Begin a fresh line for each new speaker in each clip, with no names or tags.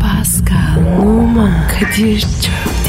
Pascal, Oman, Kadir çok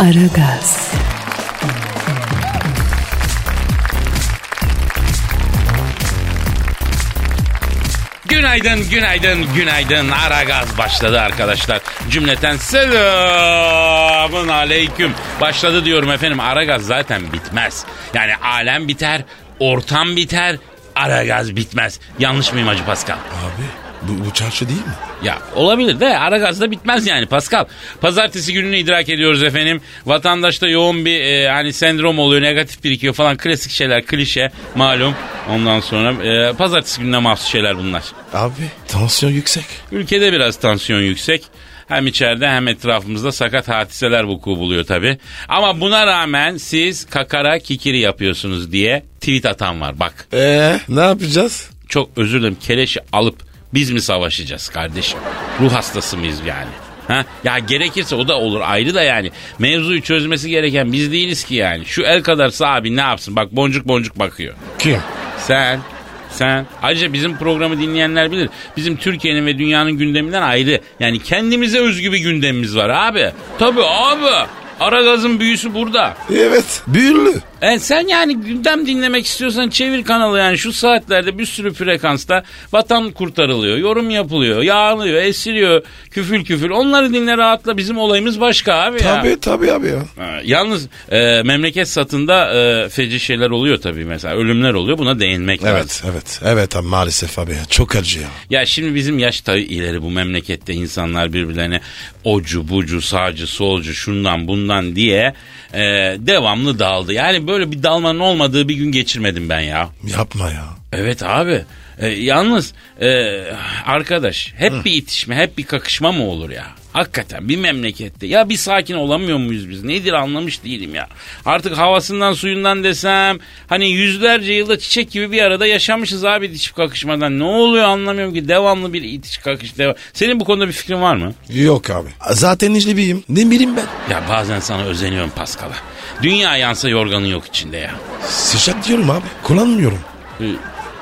Aragaz,
Günaydın, günaydın, günaydın. Ara gaz başladı arkadaşlar. Cümleten selamın aleyküm. Başladı diyorum efendim. Ara gaz zaten bitmez. Yani alem biter, ortam biter, ara gaz bitmez. Yanlış mıyım Hacı Pascal?
Abi bu, bu çarşı değil mi?
Ya olabilir de ara gazda bitmez yani Pascal. Pazartesi gününü idrak ediyoruz efendim. Vatandaşta yoğun bir e, hani sendrom oluyor negatif birikiyor falan klasik şeyler klişe malum. Ondan sonra e, pazartesi gününe mahsus şeyler bunlar.
Abi tansiyon yüksek.
Ülkede biraz tansiyon yüksek. Hem içeride hem etrafımızda sakat hadiseler vuku buluyor tabi. Ama buna rağmen siz kakara kikiri yapıyorsunuz diye tweet atan var bak.
Ee ne yapacağız?
Çok özür dilerim keleşi alıp biz mi savaşacağız kardeşim? Ruh hastası mıyız yani? Ha? Ya gerekirse o da olur ayrı da yani. Mevzuyu çözmesi gereken biz değiliz ki yani. Şu el kadarsa abi ne yapsın? Bak boncuk boncuk bakıyor.
Kim?
Sen, sen. Ayrıca bizim programı dinleyenler bilir. Bizim Türkiye'nin ve dünyanın gündeminden ayrı. Yani kendimize özgü bir gündemimiz var abi. Tabii abi. Ara gazın büyüsü burada.
Evet. Büyülü.
E sen yani gündem dinlemek istiyorsan çevir kanalı yani şu saatlerde bir sürü frekansta vatan kurtarılıyor, yorum yapılıyor, yağlıyor, esiriyor, küfül küfül. Onları dinle rahatla bizim olayımız başka abi ya.
Tabii tabii abi ya.
Ha, Yalnız e, memleket satında e, feci şeyler oluyor tabii mesela ölümler oluyor buna değinmek lazım.
Evet evet. Evet abi maalesef abi ya. Çok acı ya.
Ya şimdi bizim yaş tabii ileri bu memlekette insanlar birbirlerine ocu bucu sağcı solcu şundan bundan diye e, devamlı daldı. Yani böyle bir dalmanın olmadığı bir gün geçirmedim ben ya.
Yapma ya.
Evet abi E, yalnız e, arkadaş hep bir itişme hep bir kakışma mı olur ya? Hakikaten bir memlekette ya bir sakin olamıyor muyuz biz? Nedir anlamış değilim ya. Artık havasından suyundan desem hani yüzlerce yılda çiçek gibi bir arada yaşamışız abi itişip kakışmadan. Ne oluyor anlamıyorum ki devamlı bir itiş kakış devam. Senin bu konuda bir fikrin var mı?
Yok abi. Zaten işlibiyim. Ne bileyim ben.
Ya bazen sana özeniyorum Paskal'a. Dünya yansa yorganın yok içinde ya.
Sıcak diyorum abi. Kullanmıyorum.
E,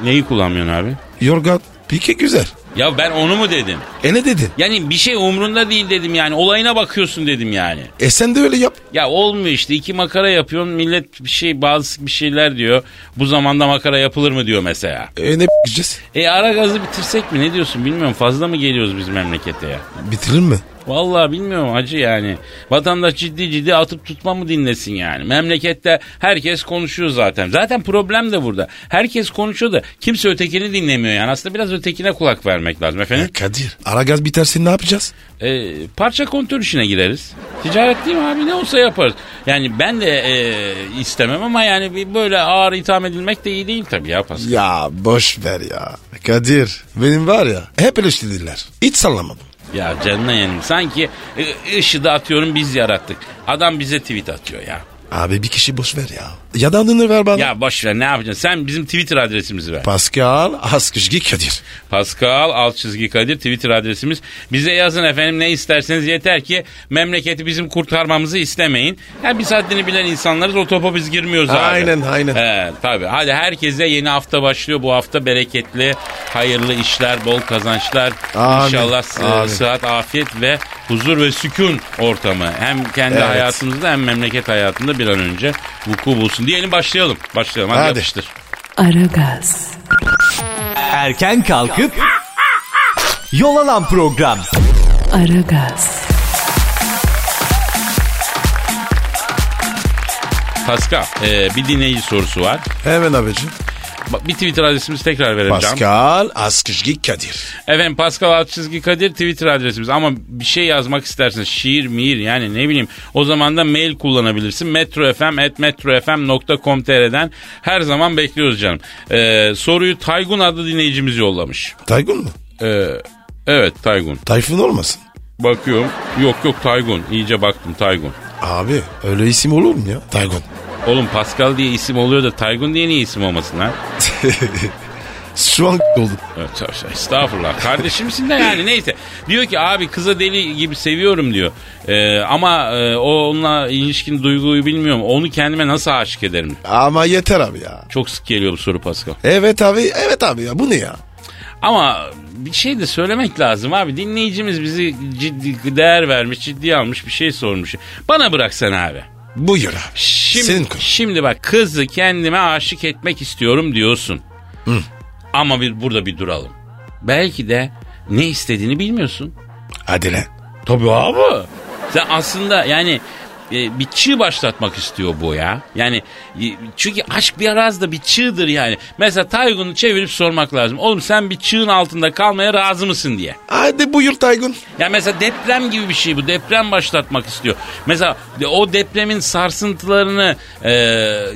neyi kullanmıyorsun abi?
Yorgan pike güzel.
Ya ben onu mu dedim?
E ne dedin?
Yani bir şey umrunda değil dedim yani. Olayına bakıyorsun dedim yani.
E sen de öyle yap.
Ya olmuyor işte iki makara yapıyorsun millet bir şey bazı bir şeyler diyor. Bu zamanda makara yapılır mı diyor mesela.
E ne yapacağız?
E ara gazı bitirsek mi ne diyorsun bilmiyorum fazla mı geliyoruz biz memlekete ya.
Bitirir mi?
Vallahi bilmiyorum acı yani. Vatandaş ciddi ciddi atıp tutma mı dinlesin yani. Memlekette herkes konuşuyor zaten. Zaten problem de burada. Herkes konuşuyor da kimse ötekini dinlemiyor yani. Aslında biraz ötekine kulak vermek lazım efendim.
E Kadir. Ara gaz biterse ne yapacağız?
E, parça kontör işine gireriz. Ticaret değil mi abi ne olsa yaparız. Yani ben de e, istemem ama yani bir böyle ağır itham edilmek de iyi değil tabii ya Pascal.
Ya boş ver ya. Kadir benim var ya hep eleştirdiler. Hiç sallamam.
Ya canına yenim sanki e, ışığı da atıyorum biz yarattık. Adam bize tweet atıyor ya.
Abi bir kişi boş ver ya. Ya da adını ver bana.
Ya boş ver ne yapacaksın sen bizim Twitter adresimizi ver.
Pascal Askışgi Kadir.
Pascal alt çizgi Kadir Twitter adresimiz. Bize yazın efendim ne isterseniz yeter ki memleketi bizim kurtarmamızı istemeyin. Yani biz haddini bilen insanlarız o topa biz girmiyoruz abi.
Aynen, aynen.
He, tabii hadi herkese yeni hafta başlıyor. Bu hafta bereketli, hayırlı işler, bol kazançlar.
Amin,
İnşallah sı-
amin.
sıhhat, afiyet ve huzur ve sükun ortamı. Hem kendi
Evet.
hayatımızda hem memleket hayatında bir an önce vuku bulsun. Diyelim başlayalım. Başlayalım hadi,
Hadi.
yapıştır.
Aragaz,
Erken kalkıp yol alan program.
Aragaz,
Pascal e, bir dinleyici sorusu var.
Hemen abicim.
Bak, Bir Twitter adresimizi tekrar vereceğim.
Pascal Askışgi Kadir.
Efendim Pascal alt çizgi Kadir Twitter adresimiz. Ama bir şey yazmak isterseniz şiir, miir yani ne bileyim o zaman da mail kullanabilirsin. metrofm.metrofm.com.tr'den her zaman bekliyoruz canım. Ee, soruyu Taygun adlı dinleyicimiz yollamış.
Taygun mu?
Ee, evet Taygun.
Tayfun olmasın.
Bakıyorum. Yok yok Taygun. İyice baktım Taygun.
Abi öyle isim olur mu ya? Taygun.
Oğlum Pascal diye isim oluyor da Taygun diye niye isim olmasın ha?
Şu an oldu.
Evet, evet, evet. Estağfurullah. Kardeşimsin de yani neyse. Diyor ki abi kıza deli gibi seviyorum diyor. Ee, ama e, onunla ilişkin duyguyu bilmiyorum. Onu kendime nasıl aşık ederim?
Ama yeter abi ya.
Çok sık geliyor bu soru Pascal.
Evet abi evet abi ya bu ne ya?
Ama bir şey de söylemek lazım abi. Dinleyicimiz bizi ciddi değer vermiş, ciddiye almış bir şey sormuş. Bana bıraksan abi.
Buyur abi.
Şimdi,
Senin kız.
şimdi bak kızı kendime aşık etmek istiyorum diyorsun. Ama bir burada bir duralım. Belki de ne istediğini bilmiyorsun.
Hadi lan.
Tabii abi. Sen aslında yani e, bir çığ başlatmak istiyor bu ya. Yani e, çünkü aşk bir arazda bir çığdır yani. Mesela Taygun'u çevirip sormak lazım. Oğlum sen bir çığın altında kalmaya razı mısın diye.
Hadi buyur Taygun.
Ya mesela deprem gibi bir şey bu. Deprem başlatmak istiyor. Mesela de- o depremin sarsıntılarını e,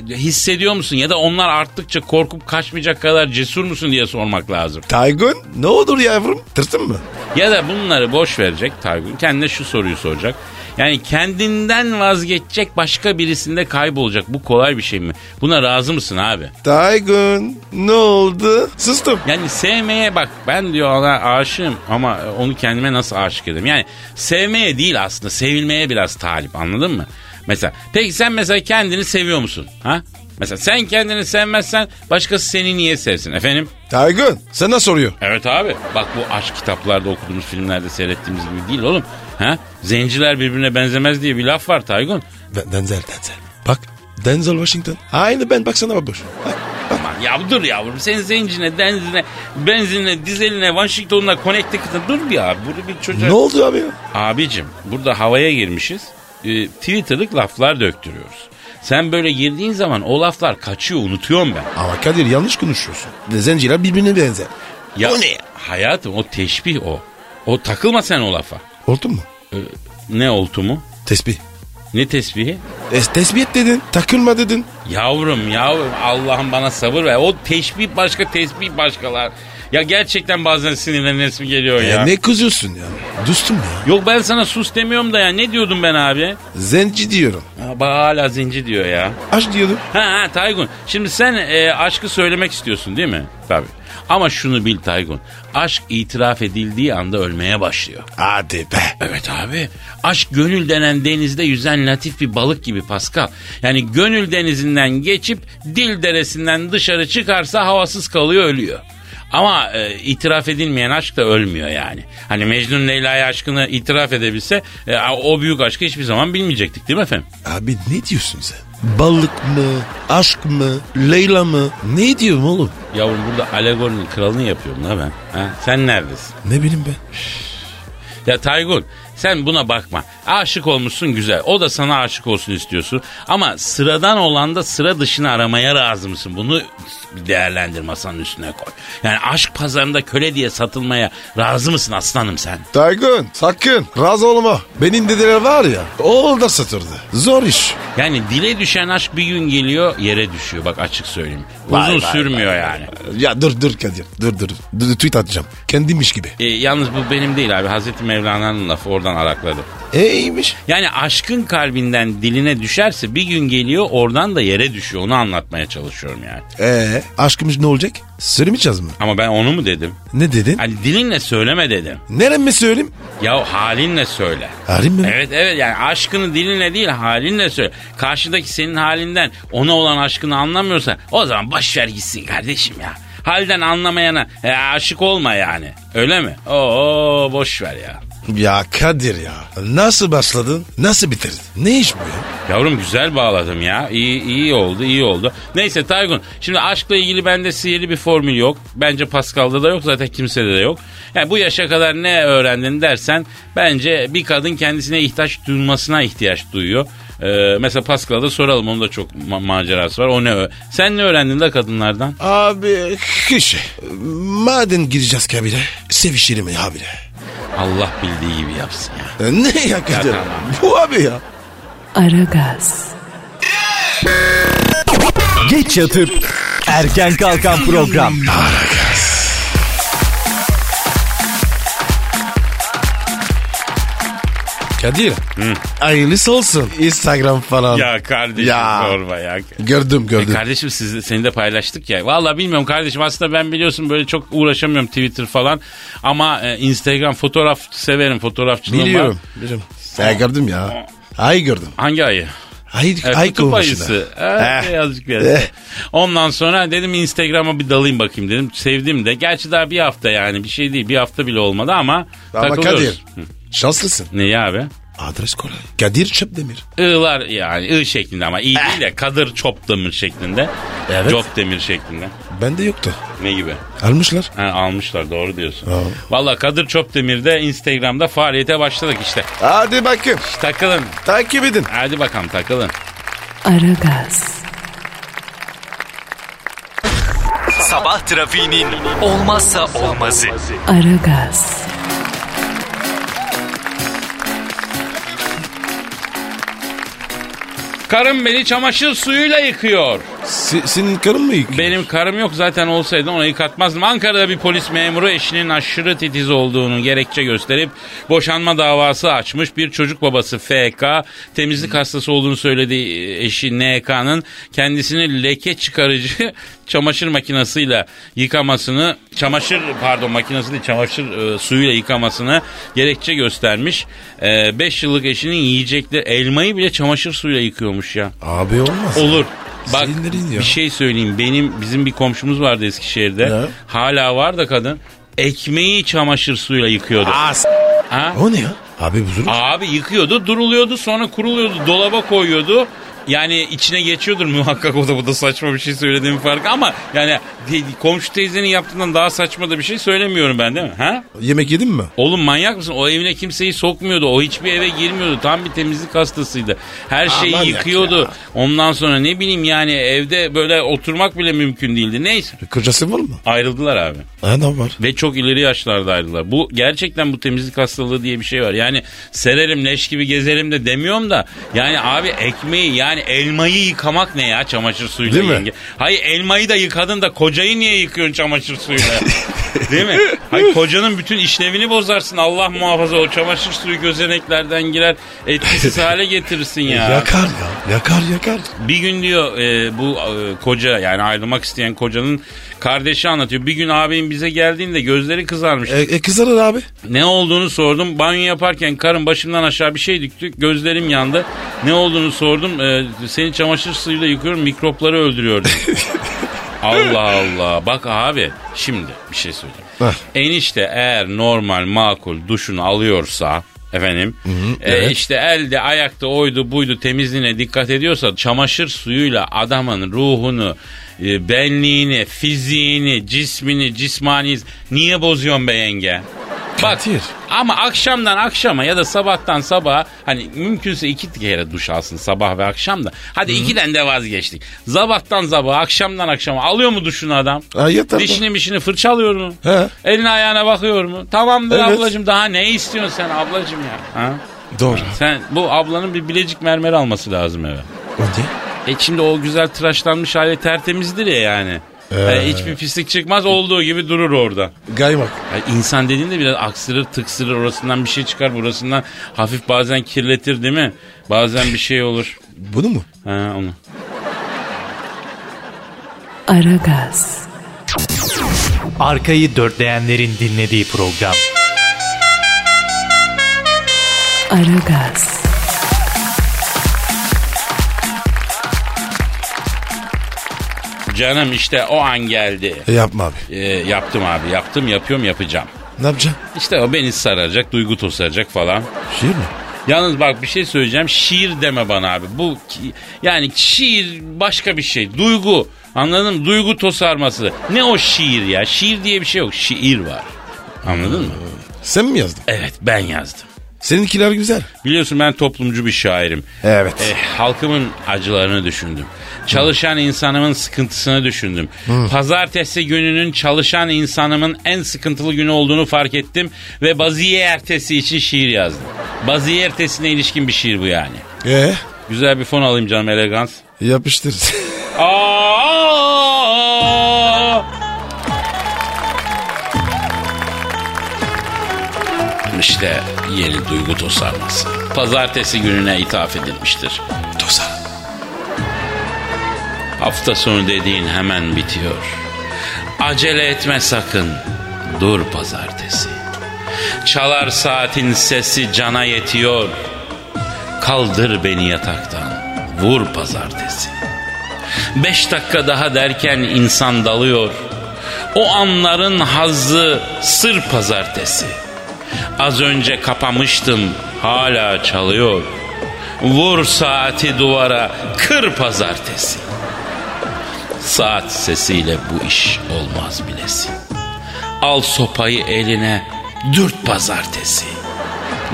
hissediyor musun? Ya da onlar arttıkça korkup kaçmayacak kadar cesur musun diye sormak lazım.
Taygun ne olur yavrum? Tırsın mı?
Ya da bunları boş verecek Taygun. Kendine şu soruyu soracak. Yani kendinden vazgeçecek başka birisinde kaybolacak. Bu kolay bir şey mi? Buna razı mısın abi?
Taygun ne oldu? Sustum.
Yani sevmeye bak ben diyor ona aşığım ama onu kendime nasıl aşık edeyim? Yani sevmeye değil aslında sevilmeye biraz talip anladın mı? Mesela peki sen mesela kendini seviyor musun? Ha? Mesela sen kendini sevmezsen başkası seni niye sevsin efendim?
Taygun sana soruyor.
Evet abi. Bak bu aşk kitaplarda okuduğumuz filmlerde seyrettiğimiz gibi değil oğlum. Ha? Zenciler birbirine benzemez diye bir laf var Taygun.
Ben, Denzel Denzel. Bak Denzel Washington. Aynı ben baksana bak dur.
Aman ya dur yavrum sen zencine, denzine, benzinine, dizeline, Washington'la, Connecticut'a dur bir abi. Burada bir çocuğa...
Ne oldu abi ya?
Abicim burada havaya girmişiz. Ee, Twitter'lık laflar döktürüyoruz. Sen böyle girdiğin zaman o laflar kaçıyor unutuyorum ben.
Ama Kadir yanlış konuşuyorsun. Zenciler birbirine benzer.
Ya,
O ne ya?
Hayatım o teşbih o. O takılma sen o lafa.
Oldu mu?
Ne oltu mu?
Tesbih.
Ne tesbihi?
E, tesbih et dedin. Takılma dedin.
Yavrum yavrum Allah'ım bana sabır ver. O teşbih başka tesbih başkalar. Ya gerçekten bazen sinirlenesim geliyor
E,
ya.
ne kızıyorsun ya? Dostum ya.
Yok ben sana sus demiyorum da ya ne diyordum ben abi?
Zenci diyorum.
Ha, Bak hala zenci diyor ya.
Aç diyorum.
Ha ha Taygun şimdi sen e, aşkı söylemek istiyorsun değil mi? Tabii. Ama şunu bil Taygun. Aşk itiraf edildiği anda ölmeye başlıyor.
Hadi be.
Evet abi. Aşk gönül denen denizde yüzen latif bir balık gibi Pascal. Yani gönül denizinden geçip dil deresinden dışarı çıkarsa havasız kalıyor ölüyor. Ama e, itiraf edilmeyen aşk da ölmüyor yani. Hani Mecnun Leyla'ya aşkını itiraf edebilse e, o büyük aşkı hiçbir zaman bilmeyecektik değil mi efendim?
Abi ne diyorsun sen? Balık mı? Aşk mı? Leyla mı? Ne diyorum oğlum?
Yavrum burada alegorinin kralını yapıyorum la ben. Ha? Sen neredesin?
Ne bileyim ben?
Ya Taygun sen buna bakma. Aşık olmuşsun güzel. O da sana aşık olsun istiyorsun. Ama sıradan olan da sıra dışını aramaya razı mısın? Bunu bir değerlendir masanın üstüne koy. Yani aşk pazarında köle diye satılmaya razı mısın aslanım sen?
Taygun sakın razı olma. Benim dedeler var ya o da satırdı. Zor iş.
Yani dile düşen aşk bir gün geliyor yere düşüyor. Bak açık söyleyeyim. Uzun
Vay, vay,
sürmüyor yani.
Ya dur dur Kadir dur dur. dur tweet atacağım. Kendimiş gibi.
E, yalnız bu benim değil abi. Hazreti Mevlana'nın lafı oradan arakladı.
E iyiymiş.
Yani aşkın kalbinden diline düşerse bir gün geliyor oradan da yere düşüyor. Onu anlatmaya çalışıyorum yani.
E aşkımız ne olacak? Söylemeyeceğiz mi?
Ama ben onu mu dedim?
Ne dedin?
Hani dilinle söyleme dedim.
Nerem mi söyleyeyim?
Ya halinle söyle.
Harim mi?
Evet evet yani aşkını dilinle değil halinle söyle. Karşıdaki senin halinden ona olan aşkını anlamıyorsa o zaman boş ver gitsin kardeşim ya. Halden anlamayana e, aşık olma yani. Öyle mi? Oo boş ver ya.
Ya Kadir ya. Nasıl başladın? Nasıl bitirdin? Ne iş bu ya?
Yavrum güzel bağladım ya. İyi, iyi oldu, iyi oldu. Neyse Taygun, şimdi aşkla ilgili bende sihirli bir formül yok. Bence Pascal'da da yok, zaten kimsede de yok. Yani bu yaşa kadar ne öğrendin dersen, bence bir kadın kendisine ihtiyaç duymasına ihtiyaç duyuyor. Ee, mesela Pascal'a da soralım, onun da çok ma- macerası var. O ne? ö- Sen ne öğrendin de kadınlardan?
Abi kişi. Madem gireceğiz kabire sevişelim ya abire.
Allah bildiği gibi yapsın ya.
Ne ya Kadir?
Ya tamam.
Bu abi ya.
Aragaz,
Geç yatıp erken kalkan program.
Kadir. Aynısı olsun. Instagram falan.
Ya kardeşim
Ya.
sorma ya.
Gördüm
E
gördüm.
kardeşim siz, seni de paylaştık ya. Valla bilmiyorum kardeşim aslında ben biliyorsun böyle çok uğraşamıyorum Twitter falan. Ama e, Instagram fotoğraf severim fotoğrafçılığım var.
Biliyorum. Biliyorum. Ya gördüm ya. Ay gördüm.
Hangi ayı?
Ay,
E,
ay
kutup
kovuşuna.
ayısı. E,
Eh.
yazık ya.
Eh.
Ondan sonra dedim Instagram'a bir dalayım bakayım dedim. Sevdim de. Gerçi daha bir hafta yani bir şey değil. Bir hafta bile olmadı ama,
Ama
takılıyoruz.
Kadir. Şanslısın.
Neyi abi?
Adres kolay. Kadir Çöpdemir.
I'lar yani I şeklinde ama İ değil de Kadır Çopdemir şeklinde.
Eh. Evet.
Çopdemir şeklinde.
Bende yoktu.
Ne gibi?
Almışlar.
Ha, almışlar doğru diyorsun.
Aa.
Valla Kadir Çopdemir'de Instagram'da faaliyete başladık işte.
Hadi bakayım.
Takılın.
Takip edin.
Hadi bakalım takılın.
Aragaz,
Sabah trafiğinin olmazsa olmazı.
Aragaz,
Karım beni çamaşır suyuyla yıkıyor.
Se- senin karın mı yıkıyor?
Benim karım yok zaten olsaydı ona yıkatmazdım. Ankara'da bir polis memuru eşinin aşırı titiz olduğunu gerekçe gösterip boşanma davası açmış. Bir çocuk babası FK temizlik hastası olduğunu söylediği eşi NK'nın kendisini leke çıkarıcı çamaşır makinesiyle yıkamasını çamaşır pardon makinesi değil çamaşır e, suyuyla yıkamasını gerekçe göstermiş. 5 yıllık eşinin yiyecekleri elmayı bile çamaşır suyuyla yıkıyormuş ya.
Abi olmaz.
Olur. Bak
Sinirlerin ya.
bir şey söyleyeyim. Benim bizim bir komşumuz vardı Eskişehir'de.
Ne?
Hala var da kadın. Ekmeği çamaşır suyuyla yıkıyordu.
Aa, s-
Ha?
O ne ya? Abi buzul.
Abi yıkıyordu, duruluyordu, sonra kuruluyordu, dolaba koyuyordu. Yani içine geçiyordur muhakkak o da bu da saçma bir şey söylediğim fark ama yani te- komşu teyzenin yaptığından daha saçma da bir şey söylemiyorum ben değil mi? Ha?
Yemek yedin mi?
Oğlum manyak mısın? O evine kimseyi sokmuyordu. O hiçbir eve girmiyordu. Tam bir temizlik hastasıydı. Her şeyi
manyak
yıkıyordu. Ondan sonra ne bileyim yani evde böyle oturmak bile mümkün değildi. Neyse.
Kocası var mı?
Ayrıldılar abi.
Adam var.
Ve çok ileri yaşlarda ayrıldılar. Bu gerçekten bu temizlik hastalığı diye bir şey var. Yani sererim leş gibi gezerim de demiyorum da. Yani abi ekmeği yani elmayı yıkamak ne ya çamaşır suyuyla?
Değil mi?
yenge? Hayır elmayı da yıkadın da kocayı niye yıkıyorsun çamaşır suyuyla? Değil mi? Hayır kocanın bütün işlevini bozarsın. Allah muhafaza o çamaşır suyu gözeneklerden girer. Etkisiz hale getirirsin ya.
Yakar ya. Yakar yakar.
Bir gün diyor e, bu e, koca yani ayrılmak isteyen kocanın kardeşi anlatıyor. Bir gün abim bize geldiğinde gözleri kızarmış.
E, e kızarır abi.
Ne olduğunu sordum. Banyo yaparken karım başımdan aşağı bir şey düktü. Gözlerim yandı. Ne olduğunu sordum. Ee, seni çamaşır suyuyla yıkıyorum. Mikropları öldürüyor. dedi. Allah Allah. Bak abi şimdi bir şey söyleyeyim.
Heh.
Enişte eğer normal makul duşunu alıyorsa efendim e, işte elde ayakta oydu buydu temizliğine dikkat ediyorsa çamaşır suyuyla adamın ruhunu e, benliğini fiziğini cismini cismani niye bozuyorsun be yenge? Bak
Kadir.
ama akşamdan akşama ya da sabahtan sabaha hani mümkünse iki kere duş alsın sabah ve akşam da. Hadi ikiden de vazgeçtik. Sabahtan sabaha akşamdan akşama alıyor mu duşunu adam?
Ha, yeter be.
Dişini mişini fırçalıyor mu?
He.
Eline ayağına bakıyor mu? Tamamdır
Evet.
ablacığım daha ne istiyorsun sen ablacığım ya? Ha?
Doğru.
Sen bu ablanın bir bilecik mermer alması lazım eve.
O ne?
E şimdi o güzel tıraşlanmış hali tertemizdir ya yani. E, hiçbir pislik çıkmaz olduğu gibi durur orada.
Gaymak.
Ya insan dediğinde biraz aksırır tıksırır orasından bir şey çıkar burasından hafif bazen kirletir değil mi? Bazen bir şey olur.
Bunu mu?
Ha onu.
Aragaz,
Arkayı dörtleyenlerin dinlediği program.
Aragaz,
Canım işte o an geldi.
E, yapma abi.
E, yaptım abi yaptım yapıyorum yapacağım.
Ne yapacaksın?
İşte o beni saracak duygu tosaracak falan.
Şiir mi?
Yalnız bak bir şey söyleyeceğim. Şiir deme bana abi. Bu ki- yani şiir başka bir şey. Duygu. Anladın mı? Duygu tosarması. Ne o şiir ya? Şiir diye bir şey yok. Şiir var. Anladın mı?
Sen mi yazdın?
Evet ben yazdım.
Seninkiler güzel.
Biliyorsun ben toplumcu bir şairim.
Evet.
Eh, halkımın acılarını düşündüm. Çalışan insanımın sıkıntısını düşündüm. Pazartesi gününün çalışan insanımın en sıkıntılı günü olduğunu fark ettim. Ve baziye ertesi için şiir yazdım. Baziye ertesine ilişkin bir şiir bu yani.
E
Güzel bir fon alayım canım elegans.
yapıştır.
Aa! İşte Yeni duygu tosarması. Pazartesi gününe ithaf edilmiştir.
Tosa.
Hafta sonu dediğin hemen bitiyor. Acele etme sakın. Dur pazartesi. Çalar saatin sesi cana yetiyor. Kaldır beni yataktan. Vur pazartesi. Beş dakika daha derken insan dalıyor. O anların hazzı sır pazartesi. Az önce kapamıştım hala çalıyor. Vur saati duvara kır pazartesi. Saat sesiyle bu iş olmaz bilesin. Al sopayı eline, dürt pazartesi.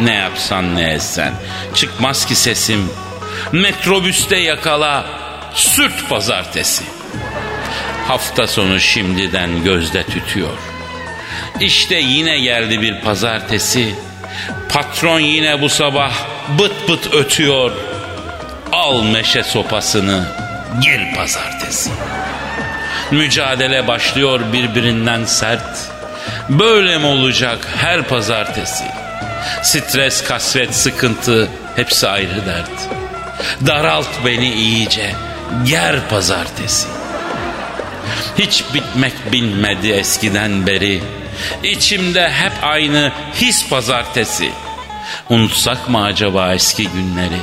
Ne yapsan ne etsen, çıkmaz ki sesim. Metrobüste yakala, sürt pazartesi. Hafta sonu şimdiden gözde tütüyor. İşte yine geldi bir pazartesi. Patron yine bu sabah bıt bıt ötüyor. Al meşe sopasını, gir pazartesi. Mücadele başlıyor birbirinden sert. Böyle mi olacak her pazartesi? Stres, kasvet, sıkıntı hepsi ayrı dert. Daralt beni iyice, ger pazartesi. Hiç bitmek bilmedi eskiden beri. İçimde hep aynı his pazartesi. Unutsak mı acaba eski günleri?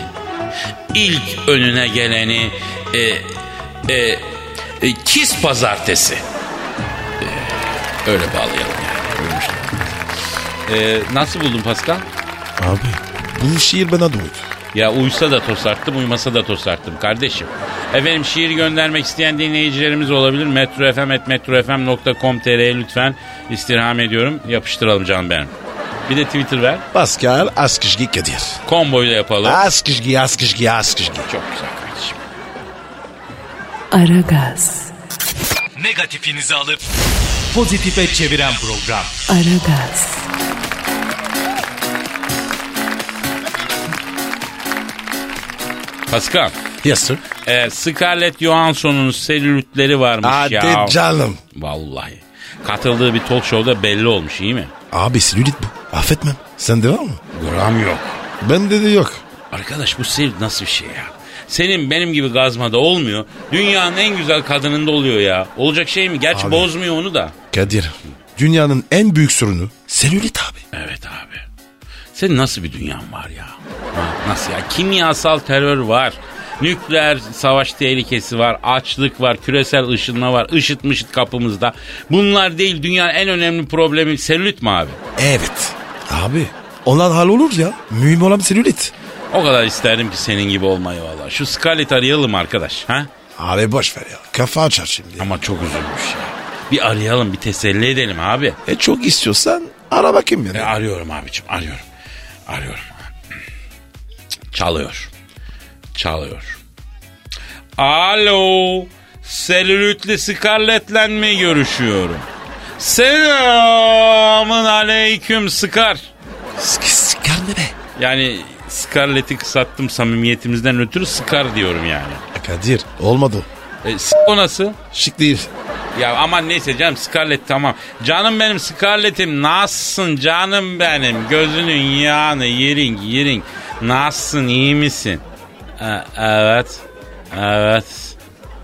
İlk önüne geleni e, e, e, kis pazartesi. E, öyle bağlayalım yani. Buyurun. E, nasıl buldun Pascal?
Abi bu şiir bana da uydu.
Ya uysa da tosarttım, uymasa da tosarttım kardeşim. Efendim şiir göndermek isteyen dinleyicilerimiz olabilir. metrofm.metrofm.com.tr lütfen istirham ediyorum. Yapıştıralım canım benim. Bir de Twitter ver.
Pascal Askışgi Kadir.
Komboyla yapalım.
Askışgi Askışgi Askışgi.
Çok güzel kardeşim.
Aragaz,
Negatifinizi alıp pozitife çeviren program.
Aragaz,
Pascal,
Yes sir.
e, Scarlett Johansson'un selülitleri varmış ya.
Hadi canım.
Vallahi. Katıldığı bir talk show'da belli olmuş iyi mi?
Abi silülit bu. Affetmem. Sende var mı?
Gram yok.
Bende de yok.
Arkadaş bu sihir nasıl bir şey ya? Senin benim gibi gazmada olmuyor. Dünyanın en güzel kadınında oluyor ya. Olacak şey mi? Gerçi
Abi.
bozmuyor onu da.
Kadir. Dünyanın en büyük sorunu selülit abi.
Evet abi. Senin nasıl bir dünyan var ya? Ha, nasıl ya? Kimyasal terör var. Nükleer savaş tehlikesi var, açlık var, küresel ışınma var, ışıt mışıt kapımızda. Bunlar değil dünyanın en önemli problemi selülit mi abi?
Evet. Abi olan hal olur ya. Mühim olan selülit.
O kadar isterdim ki senin gibi olmayı valla. Şu Scarlett arayalım arkadaş. Ha?
Abi boş ver ya. Kafa açar şimdi.
Ama çok üzülmüş ya. Bir arayalım bir teselli edelim abi.
E çok istiyorsan ara bakayım
E,
yani.
arıyorum abicim arıyorum. Arıyorum. Çalıyor. Çalıyor. Alo. Selülitli Scarlett'le mi görüşüyorum? Selamın aleyküm Scar.
Sıkı sıkar ne be?
Yani Scarlett'i kısattım samimiyetimizden ötürü Scar diyorum yani.
E, Kadir olmadı.
E, s- o nasıl?
Şık değil.
Ya aman neyse canım Scarlett tamam. Canım benim Scarlett'im nasılsın canım benim. Gözünün yağını yerin yerin. Nasılsın iyi misin? E, evet. Evet.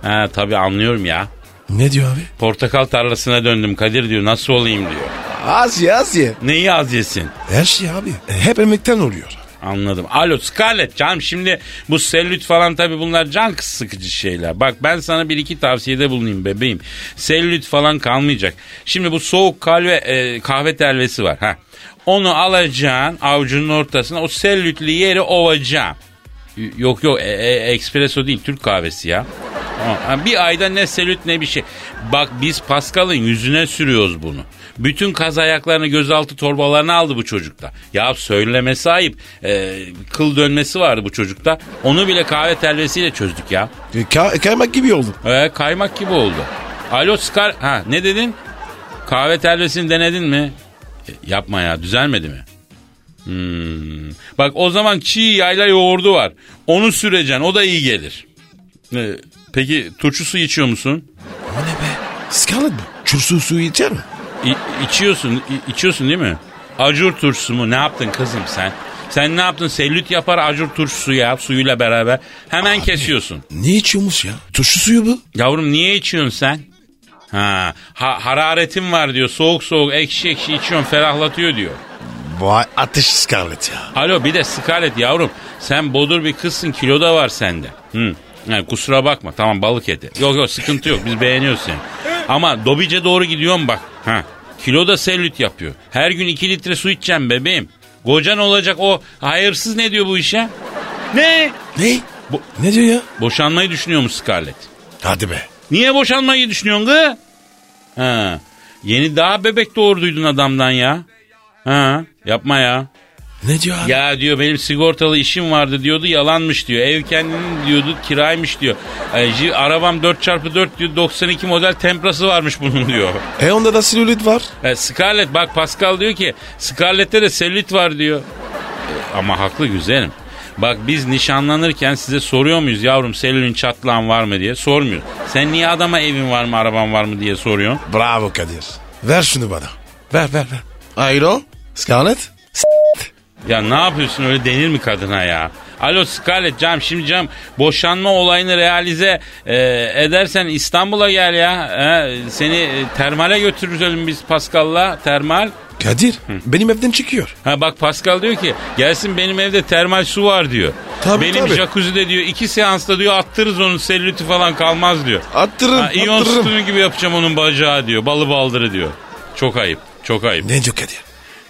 Ha, tabii anlıyorum ya.
Ne diyor abi?
Portakal tarlasına döndüm Kadir diyor nasıl olayım diyor.
Asya Asya.
Neyi az yesin?
Her şey abi. E, Hep emekten oluyor.
Anladım. Alo Scarlett canım şimdi bu sellüt falan tabii bunlar can sıkıcı şeyler. Bak ben sana bir iki tavsiyede bulunayım bebeğim. Sellüt falan kalmayacak. Şimdi bu soğuk kahve, e, kahve telvesi var. ha. Onu alacaksın avucunun ortasına o sellütlü yeri ovacaksın. Y- Yok yok e, e, espresso değil Türk kahvesi ya. Tamam. Ha, Bir ayda ne selüt ne bir şey. Bak biz Pascal'ın yüzüne sürüyoruz bunu. Bütün kaz ayaklarını gözaltı torbalarına aldı bu çocukta. Ya söylemesi ayıp. Ee, kıl dönmesi vardı bu çocukta. Onu bile kahve telvesiyle çözdük ya.
E, ka- kaymak gibi oldu.
Ee, kaymak gibi oldu. Alo Scar... Ha ne dedin? Kahve telvesini denedin mi? E, yapma ya düzelmedi mi? Hmm. Bak o zaman çiğ yayla yoğurdu var. Onu süreceksin o da iyi gelir. E, peki turşu suyu içiyor musun?
O ne be? Scarlet bu. Çursu suyu içer mi?
İ- içiyorsun, i- içiyorsun değil mi? Acur turşusu mu? Ne yaptın kızım sen? Sen ne yaptın? Sellüt yapar acur turşusu ya suyuyla beraber. Hemen kesiyorsun.
Ne içiyormuş ya? Turşu suyu bu.
Yavrum niye içiyorsun sen? Ha, ha hararetim var diyor. Soğuk soğuk ekşi ekşi içiyorum ferahlatıyor diyor.
Vay ateş Scarlett ya.
Alo bir de Scarlett yavrum. Sen bodur bir kızsın kilo da var sende. Hı. Ha, kusura bakma tamam balık eti. Yok yok sıkıntı yok biz beğeniyoruz seni. Ama dobice doğru gidiyorsun bak. Ha. Kilo da sellüt yapıyor. Her gün 2 litre su içeceğim bebeğim. Kocan olacak o hayırsız ne diyor bu işe?
Ne?
Ne? Bu, ne diyor ya?
Boşanmayı düşünüyormuş Scarlett.
Hadi be.
Niye boşanmayı düşünüyorsun kız? Ha. Yeni daha bebek doğurduydun adamdan ya. Ha. Yapma ya.
Ne diyor abi?
Ya diyor benim sigortalı işim vardı diyordu yalanmış diyor. Ev kendinin diyordu kiraymış diyor. E, ji- arabam 4x4 diyor 92 model temprası varmış bunun diyor.
E onda da selülit var.
E, Scarlett bak Pascal diyor ki Scarlett'te de selülit var diyor. E, ama haklı güzelim. Bak biz nişanlanırken size soruyor muyuz yavrum selülün çatlağın var mı diye sormuyoruz. Sen niye adama evin var mı araban var mı diye soruyorsun.
Bravo Kadir. Ver şunu bana. Ver ver ver. Ayro. Scarlett. S-
Ya ne yapıyorsun öyle denir mi kadına ya? Alo Scarlett Cam şimdi Cam boşanma olayını realize e, edersen İstanbul'a gel ya. E, seni e, termale götürürüz biz Pascal'la termal.
Kadir benim evden çıkıyor.
Ha bak Pascal diyor ki gelsin benim evde termal su var diyor.
Tabii,
benim
tabii.
jacuzzi'de diyor iki seansta diyor attırırız onun selüliti falan kalmaz diyor.
Attırırım
Ha, iyon
attırırım.
sütunu gibi yapacağım onun bacağı diyor. Balı baldırı diyor. Çok ayıp. Çok ayıp.
Ne diyor Kadir?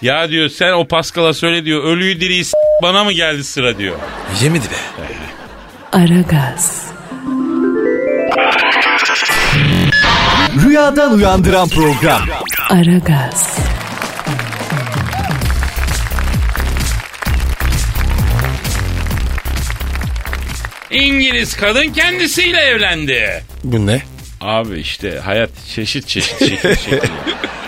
Ya diyor sen o Pascal'a söyle diyor. Ölüyü diriyi s- bana mı geldi sıra diyor.
Yemedi be.
Aragaz,
Rüyadan uyandıran program.
Aragaz,
İngiliz kadın kendisiyle evlendi.
Bu ne?
Abi işte hayat çeşit çeşit şekil şekil.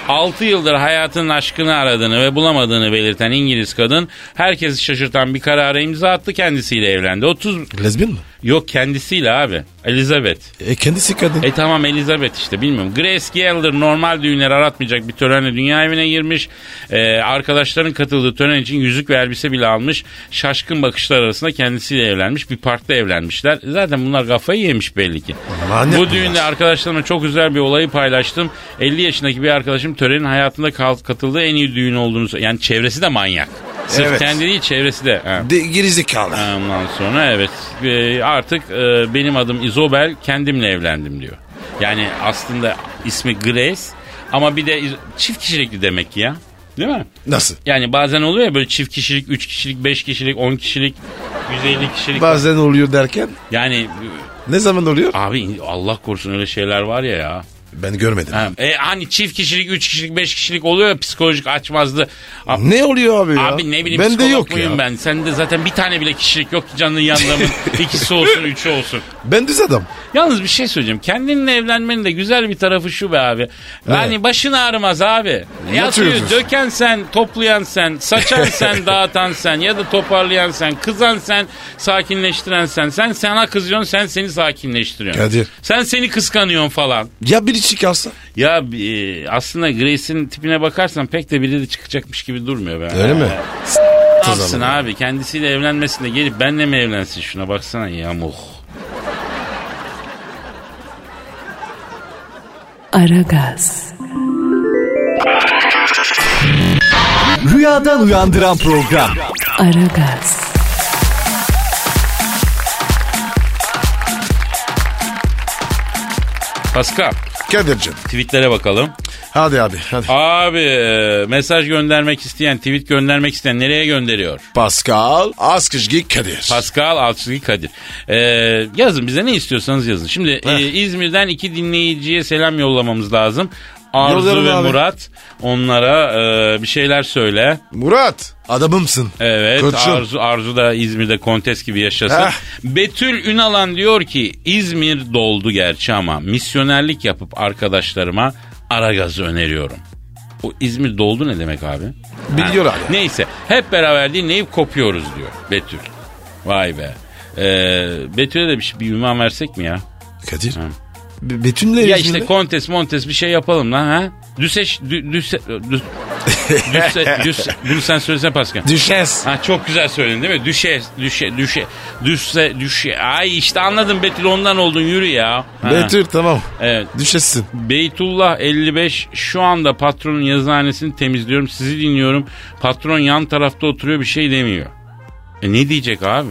6 yıldır hayatının aşkını aradığını ve bulamadığını belirten İngiliz kadın herkesi şaşırtan bir karara imza attı kendisiyle evlendi. 30
Lezbiyen mi?
yok kendisiyle abi Elizabeth.
E kendisi kadın.
E tamam Elizabeth işte bilmiyorum. Grace Gelder normal düğünleri aratmayacak bir törenle dünya evine girmiş. Ee, arkadaşların katıldığı tören için yüzük ve elbise bile almış. Şaşkın bakışlar arasında kendisiyle evlenmiş. Bir parkta evlenmişler. Zaten bunlar kafayı yemiş belli ki.
Lanet
Bu
bunlar.
düğünde arkadaşlarımla çok güzel bir olayı paylaştım. 50 yaşındaki bir arkadaşım törenin hayatında kal- katıldığı en iyi düğün olduğunu söyledi. Yani çevresi de manyak. Sırf
Evet.
kendi değil çevresi de. Ha.
De, gerizekalı.
Ondan sonra evet e, artık e, benim adım Izobel kendimle evlendim diyor. Yani aslında ismi Grace ama bir de iz- çift kişilikli demek ki ya. Değil mi?
Nasıl?
Yani bazen oluyor ya böyle çift kişilik, üç kişilik, beş kişilik, on kişilik, 150 kişilik.
Bazen oluyor derken
Yani e,
ne zaman oluyor?
abi Allah korusun öyle şeyler var ya ya.
Ben görmedim.
Ha, E, hani çift kişilik, üç kişilik, beş kişilik oluyor ya psikolojik açmazdı. A-
Ne oluyor abi ya?
Abi ne bileyim
Ben de
psikolog
yok
muyum
ya. Ben.
ben? Sende zaten bir tane bile kişilik yok ki canının yanlamın. ikisi olsun, üçü olsun.
düz adam.
Yalnız bir şey söyleyeceğim. Kendinle evlenmenin de güzel bir tarafı şu be abi. Yani başın ağrımaz abi. Yatıyor,
Yatıyoruz.
döken sen, toplayan sen, saçan sen, dağıtan sen ya da toparlayan sen, kızan sen, sakinleştiren sen. Sen sana kızıyorsun, sen seni sakinleştiriyorsun.
Kadir.
Sen seni kıskanıyorsun falan.
Ya biri çıkarsa?
Ya e, aslında Grace'in tipine bakarsan pek de biri de çıkacakmış gibi durmuyor be.
Öyle mi?
Ne yapsın
zaman.
abi? Kendisiyle evlenmesin de gelip benle mi evlensin şuna baksana yamuk.
Aragaz,
Rüyadan uyandıran program.
Aragaz,
Pascal
Kadir'cim.
tweetlere bakalım.
Hadi abi hadi.
Abi e, mesaj göndermek isteyen, tweet göndermek isteyen nereye gönderiyor?
Pascal Askışgi Kadir.
Pascal Altçızgi Kadir. E, yazın bize ne istiyorsanız yazın. Şimdi e, İzmir'den iki dinleyiciye selam yollamamız lazım. Arzu
Yollarım
ve
abi.
Murat onlara e, bir şeyler söyle.
Murat adamımsın.
Evet
Koçum.
Arzu, Arzu da İzmir'de kontes gibi yaşasın.
Heh.
Betül Ünalan diyor ki İzmir doldu gerçi ama misyonerlik yapıp arkadaşlarıma ara gazı öneriyorum. O İzmir doldu ne demek abi?
Biliyor
Ha,
abi.
Neyse hep beraber dinleyip kopuyoruz diyor Betül. Vay be. Ee, Betül'e de bir, şey- bir ünvan versek mi ya?
Kadir. Be- Betül'le
Ya
İzmir'de-
işte kontes montes bir şey yapalım lan ha? Düseş... Dü, düse, dü, düse, düse, bunu sen söylesene Pascal.
Düşes.
Ha çok güzel söyledin değil mi? Düşe, düşe, düşe, düşse, düşe. Ay işte anladım Betül ondan oldun yürü ya. Ha.
Betül tamam.
Evet.
Düşessin.
Beytullah 55 şu anda patronun yazıhanesini temizliyorum. Sizi dinliyorum. Patron yan tarafta oturuyor bir şey demiyor. E ne diyecek abi?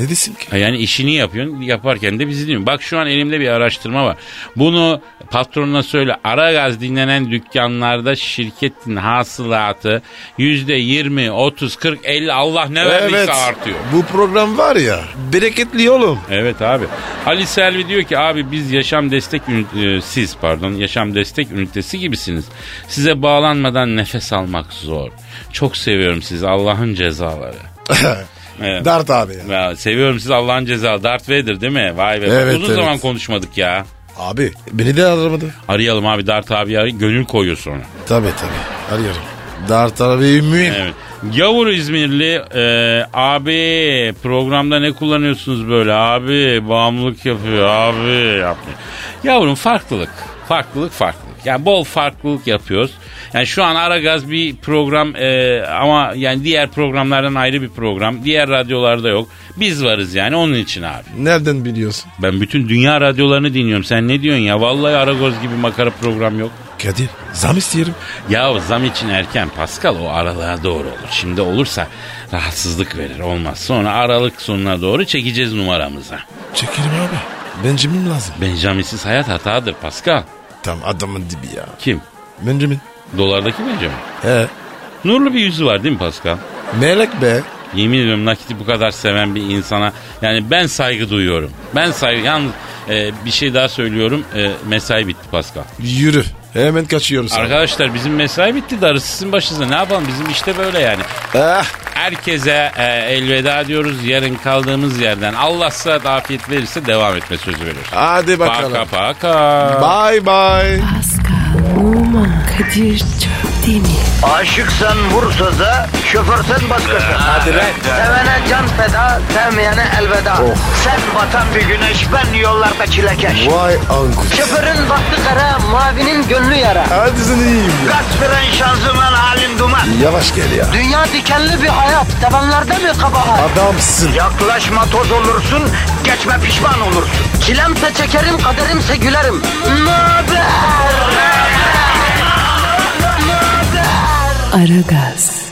Ne desin ki?
Ha Yani işini yapıyorsun yaparken de bizi dinliyorsun. Bak şu an elimde bir araştırma var. Bunu patronuna söyle. Ara gaz dinlenen dükkanlarda şirketin hasılatı yüzde 20, 30, 40, 50 Allah ne verdiyse artıyor.
Bu program var ya. Bereketli oğlum.
Evet abi. Ali Selvi diyor ki abi biz yaşam destek ünit- e, siz pardon yaşam destek ünitesi gibisiniz. Size bağlanmadan nefes almak zor. Çok seviyorum sizi Allah'ın cezaları. Evet.
Dart abi ya.
Ya, seviyorum sizi Allah'ın cezaları. Darth Vader değil mi? Vay be.
Evet,
Uzun
evet.
zaman konuşmadık ya.
Abi beni de aramadı.
Arayalım abi Dart abi arayın. Gönül koyuyor sonra.
Tabii tabii. Arıyorum. Dart abi mühim.
Evet. Gavur İzmirli e, abi programda ne kullanıyorsunuz böyle abi bağımlılık yapıyor abi yapmıyor. Yavrum farklılık farklılık farklılık yani bol farklılık yapıyoruz. Yani şu an Aragaz bir program e, ama yani diğer programlardan ayrı bir program. Diğer radyolarda yok. Biz varız yani onun için abi.
Nereden biliyorsun?
Ben bütün dünya radyolarını dinliyorum. Sen ne diyorsun ya? Vallahi Aragaz gibi makara program yok.
Kadir zam isteyelim.
Ya zam için erken Pascal o aralığa doğru olur. Şimdi olursa rahatsızlık verir olmaz. Sonra aralık sonuna doğru çekeceğiz numaramıza.
Çekelim abi. Benjamin lazım.
Benjamin'siz hayat hatadır Pascal.
Tam adamın dibi ya.
Kim?
Benjamin.
Dolardaki Benjamin.
He.
Nurlu bir yüzü var değil mi Pascal?
Melek be.
Yemin ediyorum nakiti bu kadar seven bir insana yani ben saygı duyuyorum. Ben saygı yalnız e, bir şey daha söylüyorum. E, mesai bitti Pascal.
Yürü. Hemen kaçıyoruz.
Arkadaşlar bizim mesai bitti darısı sizin başınıza. Ne yapalım bizim işte böyle yani.
Ah.
Herkese e, elveda diyoruz. Yarın kaldığımız yerden Allah sıhhat afiyet verirse devam etme sözü veriyoruz.
Hadi bakalım.
Paka paka.
Bye bye.
Pascal, Oman, Kadir çok değil mi?
Aşıksan vursa da şoförsen başkasın. Hadi Sevene can feda, sevmeyene elveda. Sen batan bir güneş, ben yollarda çilekeş.
Vay anku.
Şoförün baktı kara, mavinin gönlü yara.
Hadi sen iyiyim ya.
Kasperen şanzıman halin duman.
Yavaş gel ya.
Dünya dikenli bir hayat, sevenlerde mi kabahar?
Adamsın.
Yaklaşma toz olursun, geçme pişman olursun. Çilemse çekerim, kaderimse gülerim. Möber!
Aragaz.